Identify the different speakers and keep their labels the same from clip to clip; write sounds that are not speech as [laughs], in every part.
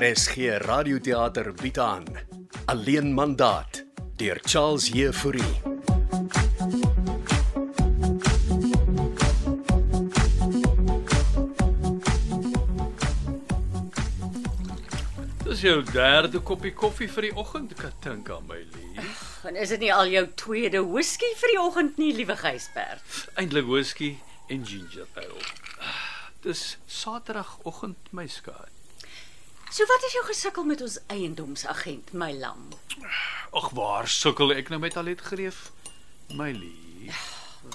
Speaker 1: RSG Radioteater bied aan Alleen mandaat deur Charles Jefouri.
Speaker 2: Dis jou derde koppie koffie vir die oggend, Katinka, my lief.
Speaker 3: En is dit nie al jou tweede whisky vir die oggend nie, liewe Gysbert?
Speaker 2: Eindelik whisky en ginger ale. Dis Saterdagoggend, my skat.
Speaker 3: So wat is jou gesukkel met ons eiendomsagent, my lam?
Speaker 2: Ag, waar sukkel ek nou met Alet Greef, my lief?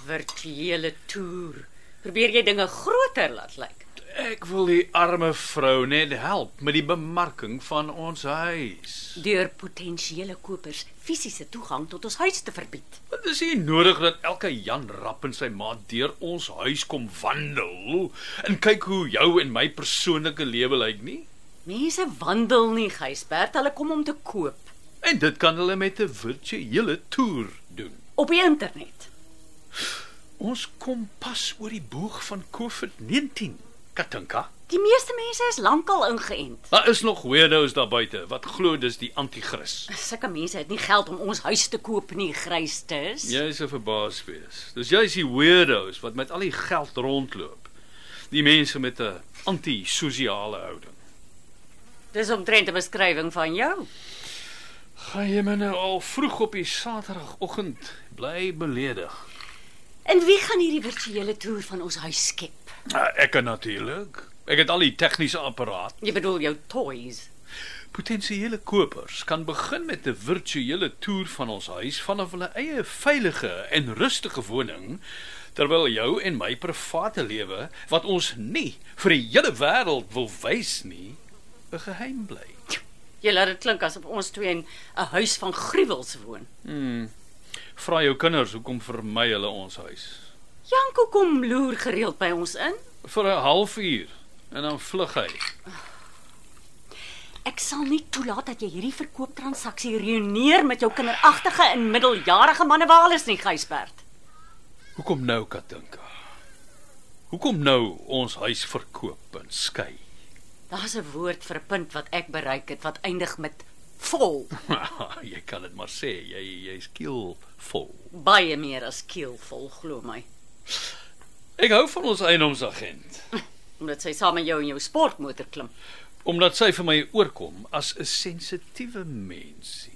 Speaker 3: Virtuele toer. Probeer jy dinge groter laat lyk.
Speaker 2: Ek wil die arme vrou net help met die bemarking van ons huis.
Speaker 3: Deur potensiële kopers fisiese toegang tot ons huis te verbied.
Speaker 2: Dit is nie nodig dat elke Jan Rapp en sy maat deur ons huis kom wandel en kyk hoe jou en my persoonlike lewe lyk nie.
Speaker 3: Mense wandel nie, Gysbert, hulle kom om te koop
Speaker 2: En dit kan hulle met 'n virtuele toer doen.
Speaker 3: op die internet.
Speaker 2: Ons kom pas oor die boog van COVID-19, Katinka.
Speaker 3: Die meeste mense is lankal ingeënt.
Speaker 2: Daar is nog weirdos daar buite wat glo dis die anti-kris.
Speaker 3: Sulke mense het nie geld om ons huis te koop nie, Grystes.
Speaker 2: Jy is so verbaas wees. Dis juist die weirdos wat met al die geld rondloop. Die mense met 'n antisosiale houding.
Speaker 3: Dis omtrent 'n beskrywing van jou.
Speaker 2: Gaan jy my nou al vroeg op die Saterdagoggend bly beledig?
Speaker 3: En wie gaan hierdie virtuele toer van ons huis skep?
Speaker 2: Ah, Ek kan natuurlik. Ek het al die tegniese apparaat.
Speaker 3: Jy bedoel jou toys.
Speaker 2: Potensiële kopers kan begin met 'n virtuele toer van ons huis vanaf hulle eie veilige en rustige woning, terwyl jou en my private lewe wat ons nie vir die hele wêreld wil wys nie, 'n geheim bly.
Speaker 3: Jy laat dit klink asof ons twee in 'n huis van gruwels woon.
Speaker 2: Vra Hmm. jou kinders hoekom vermy hulle ons huis
Speaker 3: Janko kom loer gereeld by ons in.
Speaker 2: vir 'n halfuur en dan vlug hy.
Speaker 3: Ek sal nie toelaat dat jy hierdie verkooptransaksie reuneer met jou kinderagtige en middeljarige manne waar alles nie, Gysbert.
Speaker 2: Hoekom nou, Katinka? Hoekom nou ons huis verkoop en skei?
Speaker 3: Daar's 'n woord vir 'n punt wat ek bereik het wat eindig met vol,
Speaker 2: [laughs] jy kan dit maar sê, jy jy's keelvol.
Speaker 3: baie meer as keelvol, glo my.
Speaker 2: Ek hou van ons eiendomsagent
Speaker 3: Omdat sy saam met jou in jou sportmotor klim.
Speaker 2: omdat sy vir my oorkom as 'n sensitiewe mensie.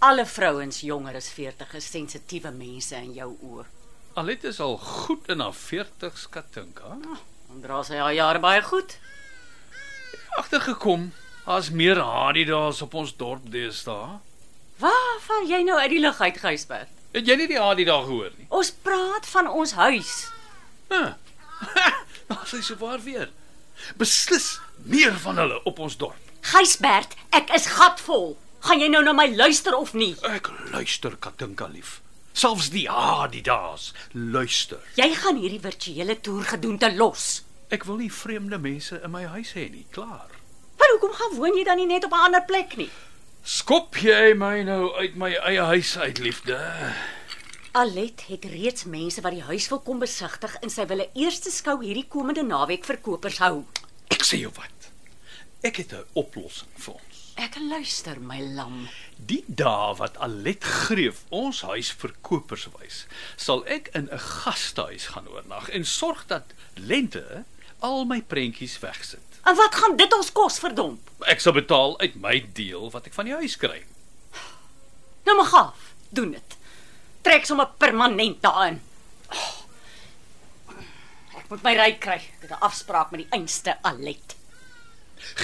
Speaker 3: Alle vrouens jonger as 40 is sensitiewe mense in jou oë.
Speaker 2: Alet is al goed in haar 40s Katinka.
Speaker 3: Dan dra sy haar jare baie goed.
Speaker 2: Agtergekom, daar's meer Adidas op ons dorp deesdae.
Speaker 3: Waar val jy nou uit die lug uit, Gysbert?
Speaker 2: Het jy nie die Adidas gehoor nie?
Speaker 3: Ons praat van ons huis.
Speaker 2: Huh. [laughs] Daar sy so waar weer. Beslis meer van hulle op ons dorp.
Speaker 3: Gysbert, ek is gatvol. Gaan jy nou na my luister of nie?
Speaker 2: Ek luister Katinka lief. Selfs die Adidas luister.
Speaker 3: Jy gaan hierdie virtuele toer gedoen te los.
Speaker 2: Ek wil nie vreemde mense in my huis hê nie, klaar.
Speaker 3: Maar hoekom gaan woon jy dan nie net op 'n ander plek nie?
Speaker 2: Skop jy my nou uit my eie huis uit, liefde?
Speaker 3: Alet het reeds mense wat die huis wil kom besigtig en sy wil 'n eerste skou hierdie komende naweek vir kopers hou.
Speaker 2: Ek sê jou wat. Ek het 'n oplossing vir ons.
Speaker 3: Ek luister, my lam.
Speaker 2: Die dag wat Alet Greef ons huis verkopers wys, sal ek in 'n gastehuis gaan oornag en sorg dat Lente al my prentjies wegsit.
Speaker 3: En wat gaan dit ons kos, verdomp?
Speaker 2: Ek sal betaal uit my deel wat ek van die huis kry.
Speaker 3: Nou maar gaaf, doen dit. Trek sommer permanent daarin. Oh, ek moet my ry kry. Ek het 'n afspraak met die einste Alet.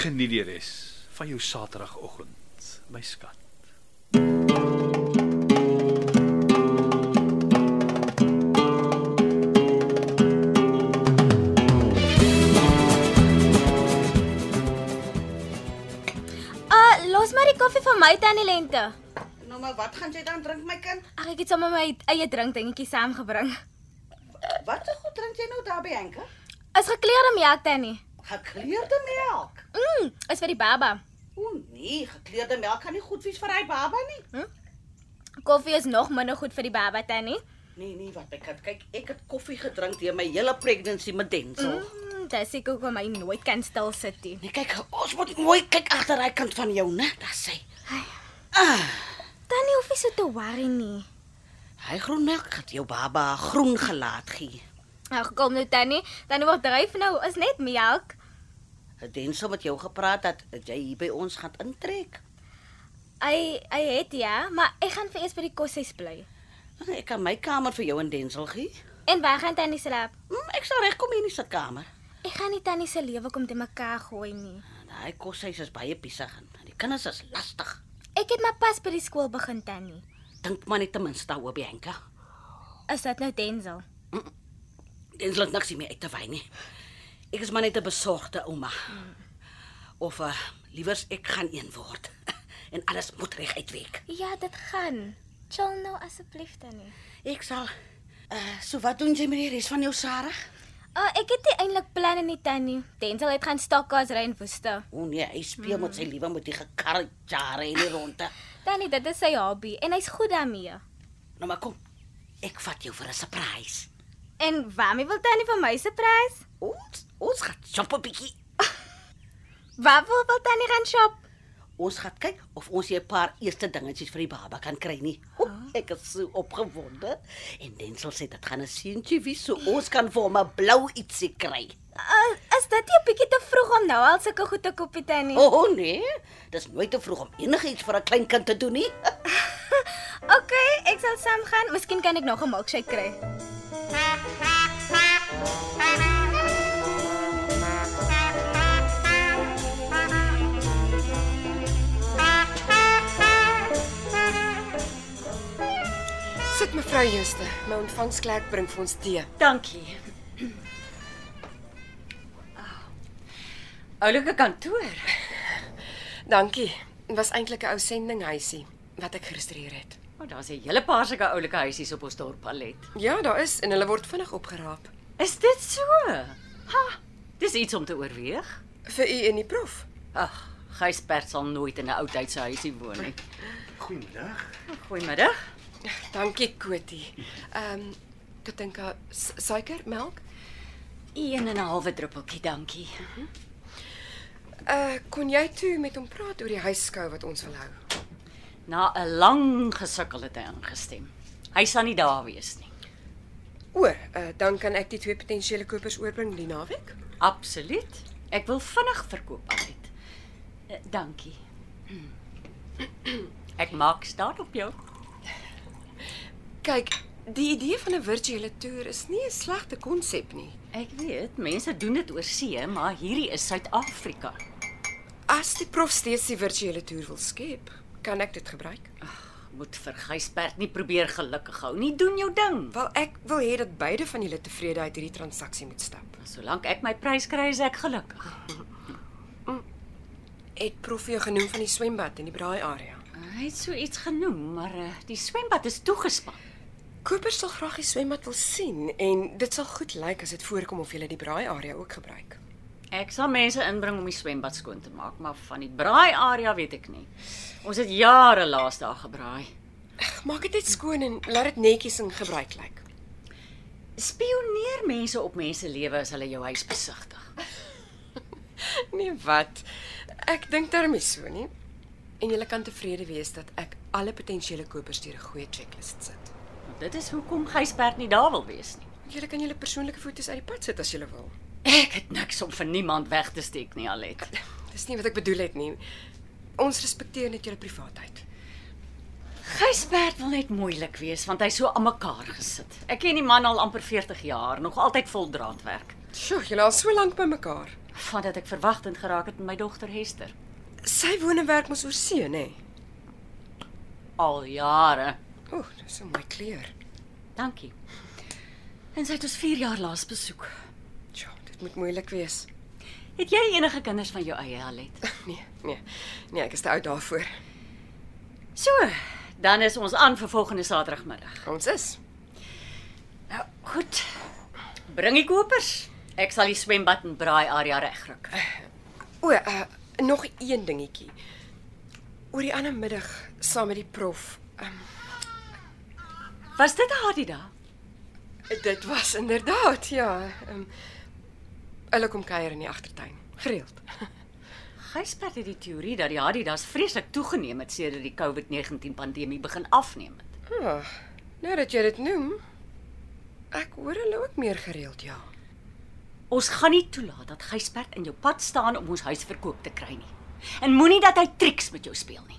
Speaker 2: Geniet die res van jou Saterdagoggend, my skat.
Speaker 4: Ah, los maar die koffie van my tannie Lente.
Speaker 5: Nou maar wat gaan jy dan drink my kind?
Speaker 4: Ag ek het sommer my eie drinkdingetjie saamgebring.
Speaker 5: Wat se goed drink jy nou daar by Henke?
Speaker 4: Is gekleurde melk tannie.
Speaker 5: Gekleurde melk.
Speaker 4: Mm, is vir die baba.
Speaker 5: O nee, gekleurde melk kan nie goed wees vir hy baba nie.
Speaker 4: Koffie is nog minder goed vir die baba tannie.
Speaker 5: Nee nee, wat my kind, kyk, ek het koffie gedrink deur my hele pregnancy met Denzel.
Speaker 4: Mm, fantasties hoekom hy nooit kan stil sit nie.
Speaker 5: Nee, kyk, ons moet mooi kyk agter daai kant van jou, né? Daar sê.
Speaker 4: Tannie hoef nie so te worry nie.
Speaker 5: Hy groenmelk het jou baba groen gelaat gee.
Speaker 4: Ag kom nou tannie, tannie word dryf nou is net melk.
Speaker 5: Het Denso met jou gepraat dat dat jy hier by ons gaan intrek?
Speaker 4: Hy hy het ja, maar ek gaan vir eers by die koshuis bly.
Speaker 5: Nou, Ek kan my kamer vir jou en Denzel gee.
Speaker 4: En waar gaan tannie slaap?
Speaker 5: Hm, ek sal regkom hier in die sitkamer.
Speaker 4: Ek gaan nie tannie se lewe kom te mekaar gooi nie.
Speaker 5: Daai koshuis is baie besig en die kinders is lastig.
Speaker 4: Ek het maar pas by die skool begin tannie.
Speaker 5: Dink maar net ten minste daaroor, Bianca.
Speaker 4: Is dit nou Denzel?
Speaker 5: Denzel het niks meer uit te wyn nie. Ek is maar net 'n besorgde ouma. Of uh, liewers ek gaan een word. [laughs] en alles moet reg uitwerk.
Speaker 4: Ja, dit gaan. Chill nou asseblief tannie.
Speaker 5: Ek sal uh, so wat doen jy met die res van jou Sarah?
Speaker 4: O, oh, ek het nie eintlik planne nie tannie. Denzel het gaan stokkas ry in Woeste.
Speaker 5: O nee, hy speel mm. met sy liewe met die gekarre jare in die ronde.
Speaker 4: Tannie, dit is sy hobby en hy's goed daarmee.
Speaker 5: Nou maar kom. Ek vat jou vir 'n surprise.
Speaker 4: En waarmee wil tannie vir my surprise?
Speaker 5: Ons ons gaan shop 'n bietjie.
Speaker 4: Waar wil wil tannie gaan shop?
Speaker 5: Ons gaan kyk of ons hier 'n paar eerste dingetjies vir die baba kan kry nie. O,
Speaker 3: Ah.
Speaker 5: ek is so opgewonde. En Denzel sê dit gaan 'n seentjie wees, so ons kan vir hom 'n blou ietsie kry.
Speaker 4: Uh, is dit nie 'n bietjie te vroeg om nou al sulke goed te koop, nie, tannie?
Speaker 5: O oh, nee, dis nooit te vroeg om enigiets vir 'n klein kind te doen nie.
Speaker 4: Okay, ek sal saam gaan. Miskien kan ek nog 'n milkshake kry.
Speaker 6: Sit mevrou Jooste, my ontvangsklek bring vir ons tee.
Speaker 3: [laughs] Dankie. Ah. Oulike kantoor.
Speaker 6: Dankie. Dit was eintlik 'n ou sendinghuisie wat ek geregistreer het.
Speaker 3: Maar oh, daar's 'n hele paar sulke oulike huisies op ons dorp palet.
Speaker 6: Ja, daar is en hulle word vinnig opgeraap
Speaker 3: Is dit so? Ha, dis iets om te oorweeg.
Speaker 6: vir u en die prof.
Speaker 3: Ag, Gysbert sal nooit in 'n ou tyd se huisie woon nie.
Speaker 1: Goeiemiddag.
Speaker 3: Goeiemiddag.
Speaker 6: Dankie Kotie. Ehm um, Katinka, s- suiker, melk?
Speaker 3: 1 en 'n halwe druppeltjie, dankie.
Speaker 6: Uh kon jy toe met hom praat oor die huisskou wat ons wil hou?
Speaker 3: Na 'n lang gesukkel het hy ingestem. Hy sal nie daar wees nie.
Speaker 6: O, uh, dan kan ek die twee potensiële kopers oorbring die naweek.
Speaker 3: Absoluut. Ek wil vinnig verkoop altyd. Eh, Dankie. Ek maak staat op jou.
Speaker 6: Kyk, die idee van 'n virtuele toer is nie 'n slegte konsep nie.
Speaker 3: Ek weet, mense doen dit oor see, maar hierdie is Suid-Afrika.
Speaker 6: As die prof steeds die virtuele toer wil skep, kan ek dit gebruik.
Speaker 3: Moet vir Gysbert nie probeer gelukkig hou nie. Doen jou ding.
Speaker 6: Wel ek wil hê dat beide van julle tevrede uit hierdie transaksie moet stap.
Speaker 3: Solank ek my prys kry, is ek gelukkig.
Speaker 6: Het prof jou genoem van die swembad in die braai area?
Speaker 3: Hy het so iets genoem, maar eh, die swembad is toegespan.
Speaker 6: Kopers sal graag die swembad wil sien en dit sal goed lyk as dit voorkom of julle die braai area ook gebruik.
Speaker 3: Ek sal mense inbring om die swembad skoon te maak, maar van die braai area weet ek nie. Ons het jare laas daar gebraai.
Speaker 6: Ag, Maak dit net skoon en laat dit netjies en gebruik lyk.
Speaker 3: Spioneer mense op mense lewe as hulle jou huis besigtig.
Speaker 6: [laughs] Nee, wat? Ek dink daarmee so nie. En julle kan tevrede wees dat ek alle potensiële kopers deur 'n goeie checklist sit.
Speaker 3: Want Dit is hoekom Gysbert nie daar wil wees nie.
Speaker 6: Julle kan julle persoonlike foto's uit die pad sit as julle wil.
Speaker 3: Ek het niks om vir niemand weg te steek nie, Alet.
Speaker 6: Dis nie wat ek bedoel het nie. Ons respekteer net julle privaatheid.
Speaker 3: Gysbert wil net moeilik wees want hy's so aan mekaar gesit. Ek ken die man al amper 40 jaar, nog altyd vol draadwerk.
Speaker 6: Sjoe, julle al so lank by mekaar.
Speaker 3: Vandat ek verwagtend geraak het met my dogter Hester.
Speaker 6: Sy woon en werk mos oor see, nê? Nee?
Speaker 3: Al jare.
Speaker 6: O, dis 'n mooi kleur.
Speaker 3: Dankie. En sy het ons 4 jaar laas besoek.
Speaker 6: Tjoh, dit moet moeilik wees. [laughs]
Speaker 3: Het jy enige kinders van jou eie, Alet?
Speaker 6: Nee, nee. Nee, ek is te oud daarvoor.
Speaker 3: So, dan is ons aan vir volgende Saterdagmiddag.
Speaker 6: Ons is.
Speaker 3: Nou, goed. Bring die kopers. Ek sal die swembad en braai area regryk.
Speaker 6: O, uh, nog een dingetjie. Oor die ander middag saam met die prof. Um,
Speaker 3: Was dit 'n harde dag?
Speaker 6: dit was inderdaad, ja. Um, Ehm, Hulle kom kuier in die agtertuin, gereeld.
Speaker 3: Gysbert het die teorie dat die Adidas vreeslik toegeneem het sedert die COVID-19 pandemie begin afneem het.
Speaker 6: Ag, nou dat jy dit noem, ek hoor hulle ook meer gereeld, ja.
Speaker 3: Ons gaan nie toelaat dat Gysbert in jou pad staan om ons huis verkoop te kry nie. En moenie dat hy triks met jou speel nie.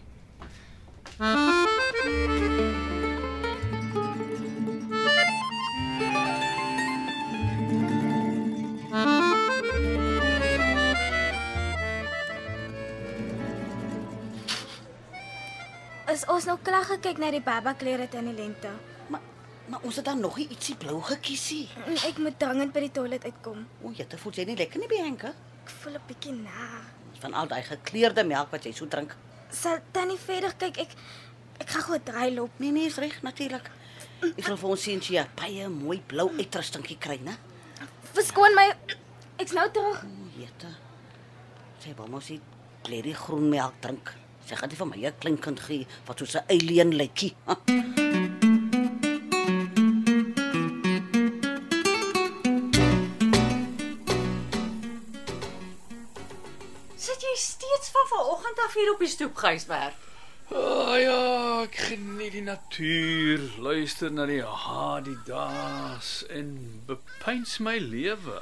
Speaker 4: Is ons nou klaar gekyk na die baba klere in die lente?
Speaker 5: Maar maar ons het dan nog nie ietsie blou gekiesie.
Speaker 4: Mm, Ek moet dringend by die toilet uitkom.
Speaker 5: O, jette, voel jy nie lekker nie, Bianca?
Speaker 4: Ek voel 'n bietjie na.
Speaker 5: Van al daai gekleurde melk wat jy so drink.
Speaker 4: Sal tannie verder kyk. Ek ek gaan gou 'n draai loop.
Speaker 5: Nee nee, is reg natuurlik. Ek sal vir ons seentjie ja, baie mooi blou uitrustingkie kry, né?
Speaker 4: Verskoon my. Ek's nou terug.
Speaker 5: O, jette. Sy wil mos nie klerie groen melk drink. Sy gaan dit vir my 'n klinkend gee wat soos 'n alien lykie. Ha.
Speaker 3: Sit jy steeds van vanoggend af hier op die stoep, Gysbert?
Speaker 2: Ah ja, ek geniet die natuur, luister na die hadidas en bepeins my lewe.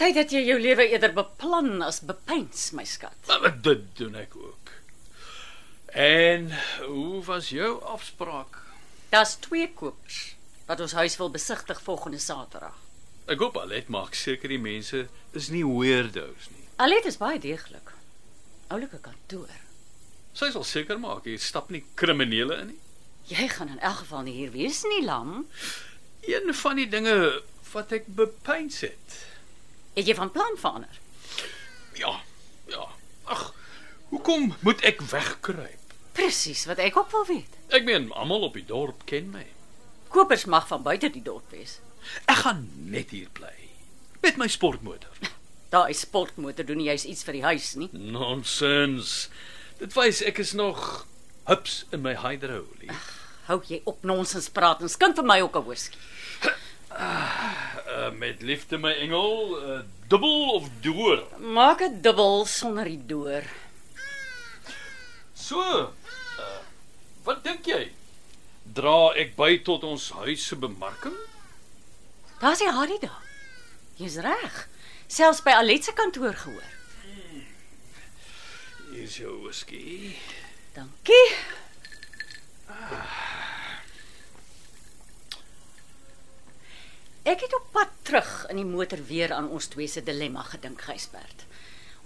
Speaker 3: Tyd dat jy jou lewe eerder beplan as bepeins, my skat.
Speaker 2: Maar wat dit doen ek ook. En hoe was jou afspraak?
Speaker 3: Daar's twee kopers wat ons huis wil besigtig volgende Saterdag.
Speaker 2: Ek hoop Alet maak seker die mense is nie weirdos nie.
Speaker 3: Alet is baie deeglik. Oulike kantoor.
Speaker 2: Sy sal seker maak hier stap nie kriminele in nie.
Speaker 3: Jy gaan in elk geval nie hier wees nie, Lam.
Speaker 2: Een van die dinge wat ek bepeins het.
Speaker 3: Het jy van plan verander?
Speaker 2: Ja, ja. Ag, hoekom moet ek wegkruip?
Speaker 3: Presies wat ek ook wil weet.
Speaker 2: Ek meen almal op die dorp ken my.
Speaker 3: Kopers mag van buite die dorp wees.
Speaker 2: Ek gaan net hier bly met my sportmotor.
Speaker 3: Daai sportmotor doen nie juis iets vir die huis nie.
Speaker 2: Nonsens. Dit wys ek is nog hups in my hydrolie.
Speaker 3: Hou jy op nonsens praat en skink vir my ook 'n whisky.
Speaker 2: Uh, met liefde my engel, uh, dubbel of deur.
Speaker 3: Maak dit dubbel sonder die deur.
Speaker 2: So, uh, wat dink jy? Dra ek by tot ons huis se bemarking?
Speaker 3: Daar's die Harry daar. Jy's reg. Selfs by Alet se kantoor gehoor.
Speaker 2: Hier is jou whisky.
Speaker 3: Dankie. Ah. Ek het op pad terug in die motor weer aan ons twee se dilemma gedink, Gysbert.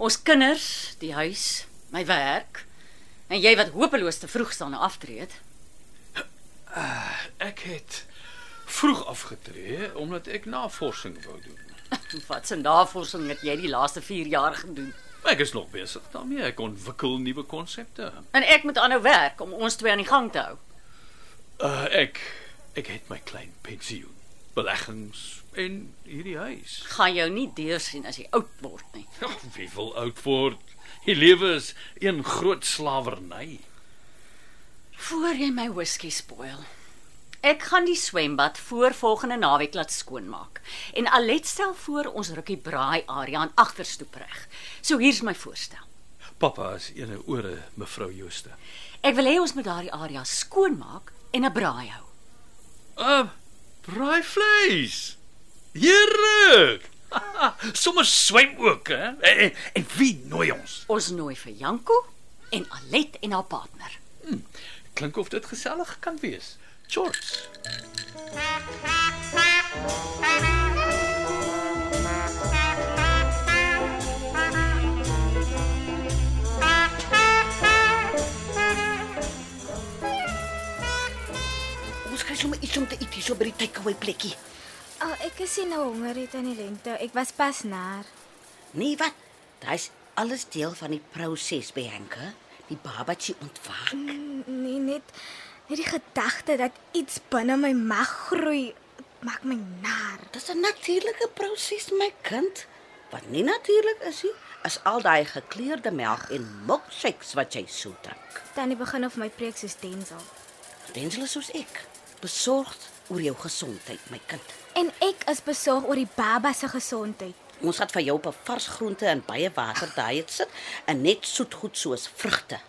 Speaker 3: Ons kinders, die huis, my werk en jy wat hopeloos te vroeg staan na aftree het.
Speaker 2: Ek het vroeg afgetree omdat ek navorsing wou doen.
Speaker 3: Wat 'n navorsing het jy die laaste 4 jaar gedoen?
Speaker 2: Ek is nog besig daarmee. Ek ontwikkel nuwe konsepte.
Speaker 3: En ek moet aanhou werk om ons twee aan die gang te hou.
Speaker 2: Uh, ek ek het my klein pensioen, beleggings en hierdie [laughs] huis.
Speaker 3: Gaan jou nie deursien as jy oud word nie.
Speaker 2: Oh, wie wil oud word? Die lewe is een groot slawerny.
Speaker 3: Voor jy my whisky spoil. Ek gaan die swembad voor volgende naweek laat skoonmaak. En Alet stel voor ons rukkie braai area aan agterstoep reg. So hier's my voorstel.
Speaker 2: Pappa is ene ore mevrou Jooste.
Speaker 3: Ek wil hê ons moet daardie area skoonmaak en 'n braai hou.
Speaker 2: Uh, braai vleis. Heerlik. [laughs] Sommige swem ook, hè? En, en, Eh, en wie nooi ons?
Speaker 3: Ons nooi vir Janko en Alet en haar partner.
Speaker 2: Klink of dit gesellig kan wees. Shorts.
Speaker 5: Ons kry sommer iets om te eet hier so by die takeaway plekkie.
Speaker 4: O, oh, ek is nie nou honger het aan die lente. Ek was pas na.
Speaker 5: Nee, wat? Dis alles deel van die proses, Bianca. Die babatjie ontwaak.
Speaker 4: Nee, net net die gedagte dat iets binne my mag groei maak my nar.
Speaker 5: Dis 'n natuurlike proses, my kind. Wat nie natuurlik is nie, is al daai gekleurde melk en milkshakes wat jy so drink.
Speaker 4: Tannie begin of my preek soos Denzel.
Speaker 5: Denzel is soos ek, besorgd oor jou gesondheid, my kind.
Speaker 4: En ek is besorg oor die baba se gesondheid.
Speaker 3: Ons het vir jou op 'n vars groente en baie water daai dit sit en net soet goed soos vrugte.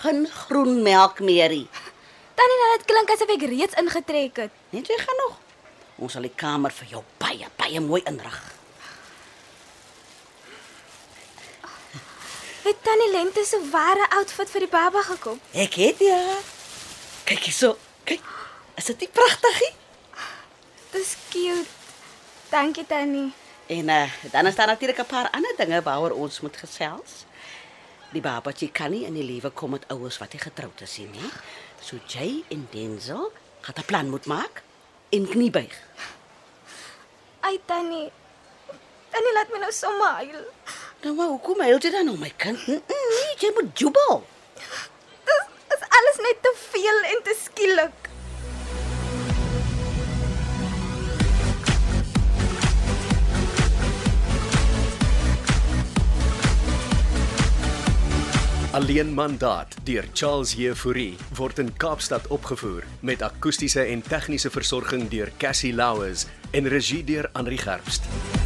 Speaker 3: Geen groen melk meer nie.
Speaker 4: Tannie, nou dit klink asof ek reeds ingetrek het.
Speaker 3: Net jy gaan nog. Ons sal die kamer vir jou baie baie mooi inrig.
Speaker 4: Het tannie Lente se ware outfit vir die baba gekoop?
Speaker 3: Ek het ja. Kyk hierso. Kyk. Is dit nie pragtig nie?
Speaker 4: Dis cute. Dankie tannie.
Speaker 3: En uh, dan is daar natuurlik 'n paar ander dinge waaroor ons moet gesels. Die babatjie kan nie in die lewe kom met ouers wat hy getroud is nie, nie. So Jay en Denzel gaan 'n plan moet maak en kniebuig.
Speaker 4: Ai tannie. Tannie laat my nou sommer huil.
Speaker 3: Nou maar hoekom huil jy dan nou my kind? Mm, mm, jy moet jubel.
Speaker 4: Dis is alles net te veel en te skielik.
Speaker 1: Alleen Mandaat deur Charles Jefouri word in Kaapstad opgevoer met akoestiese en tegniese versorging deur Cassie Louws en regie deur Henri Gerst.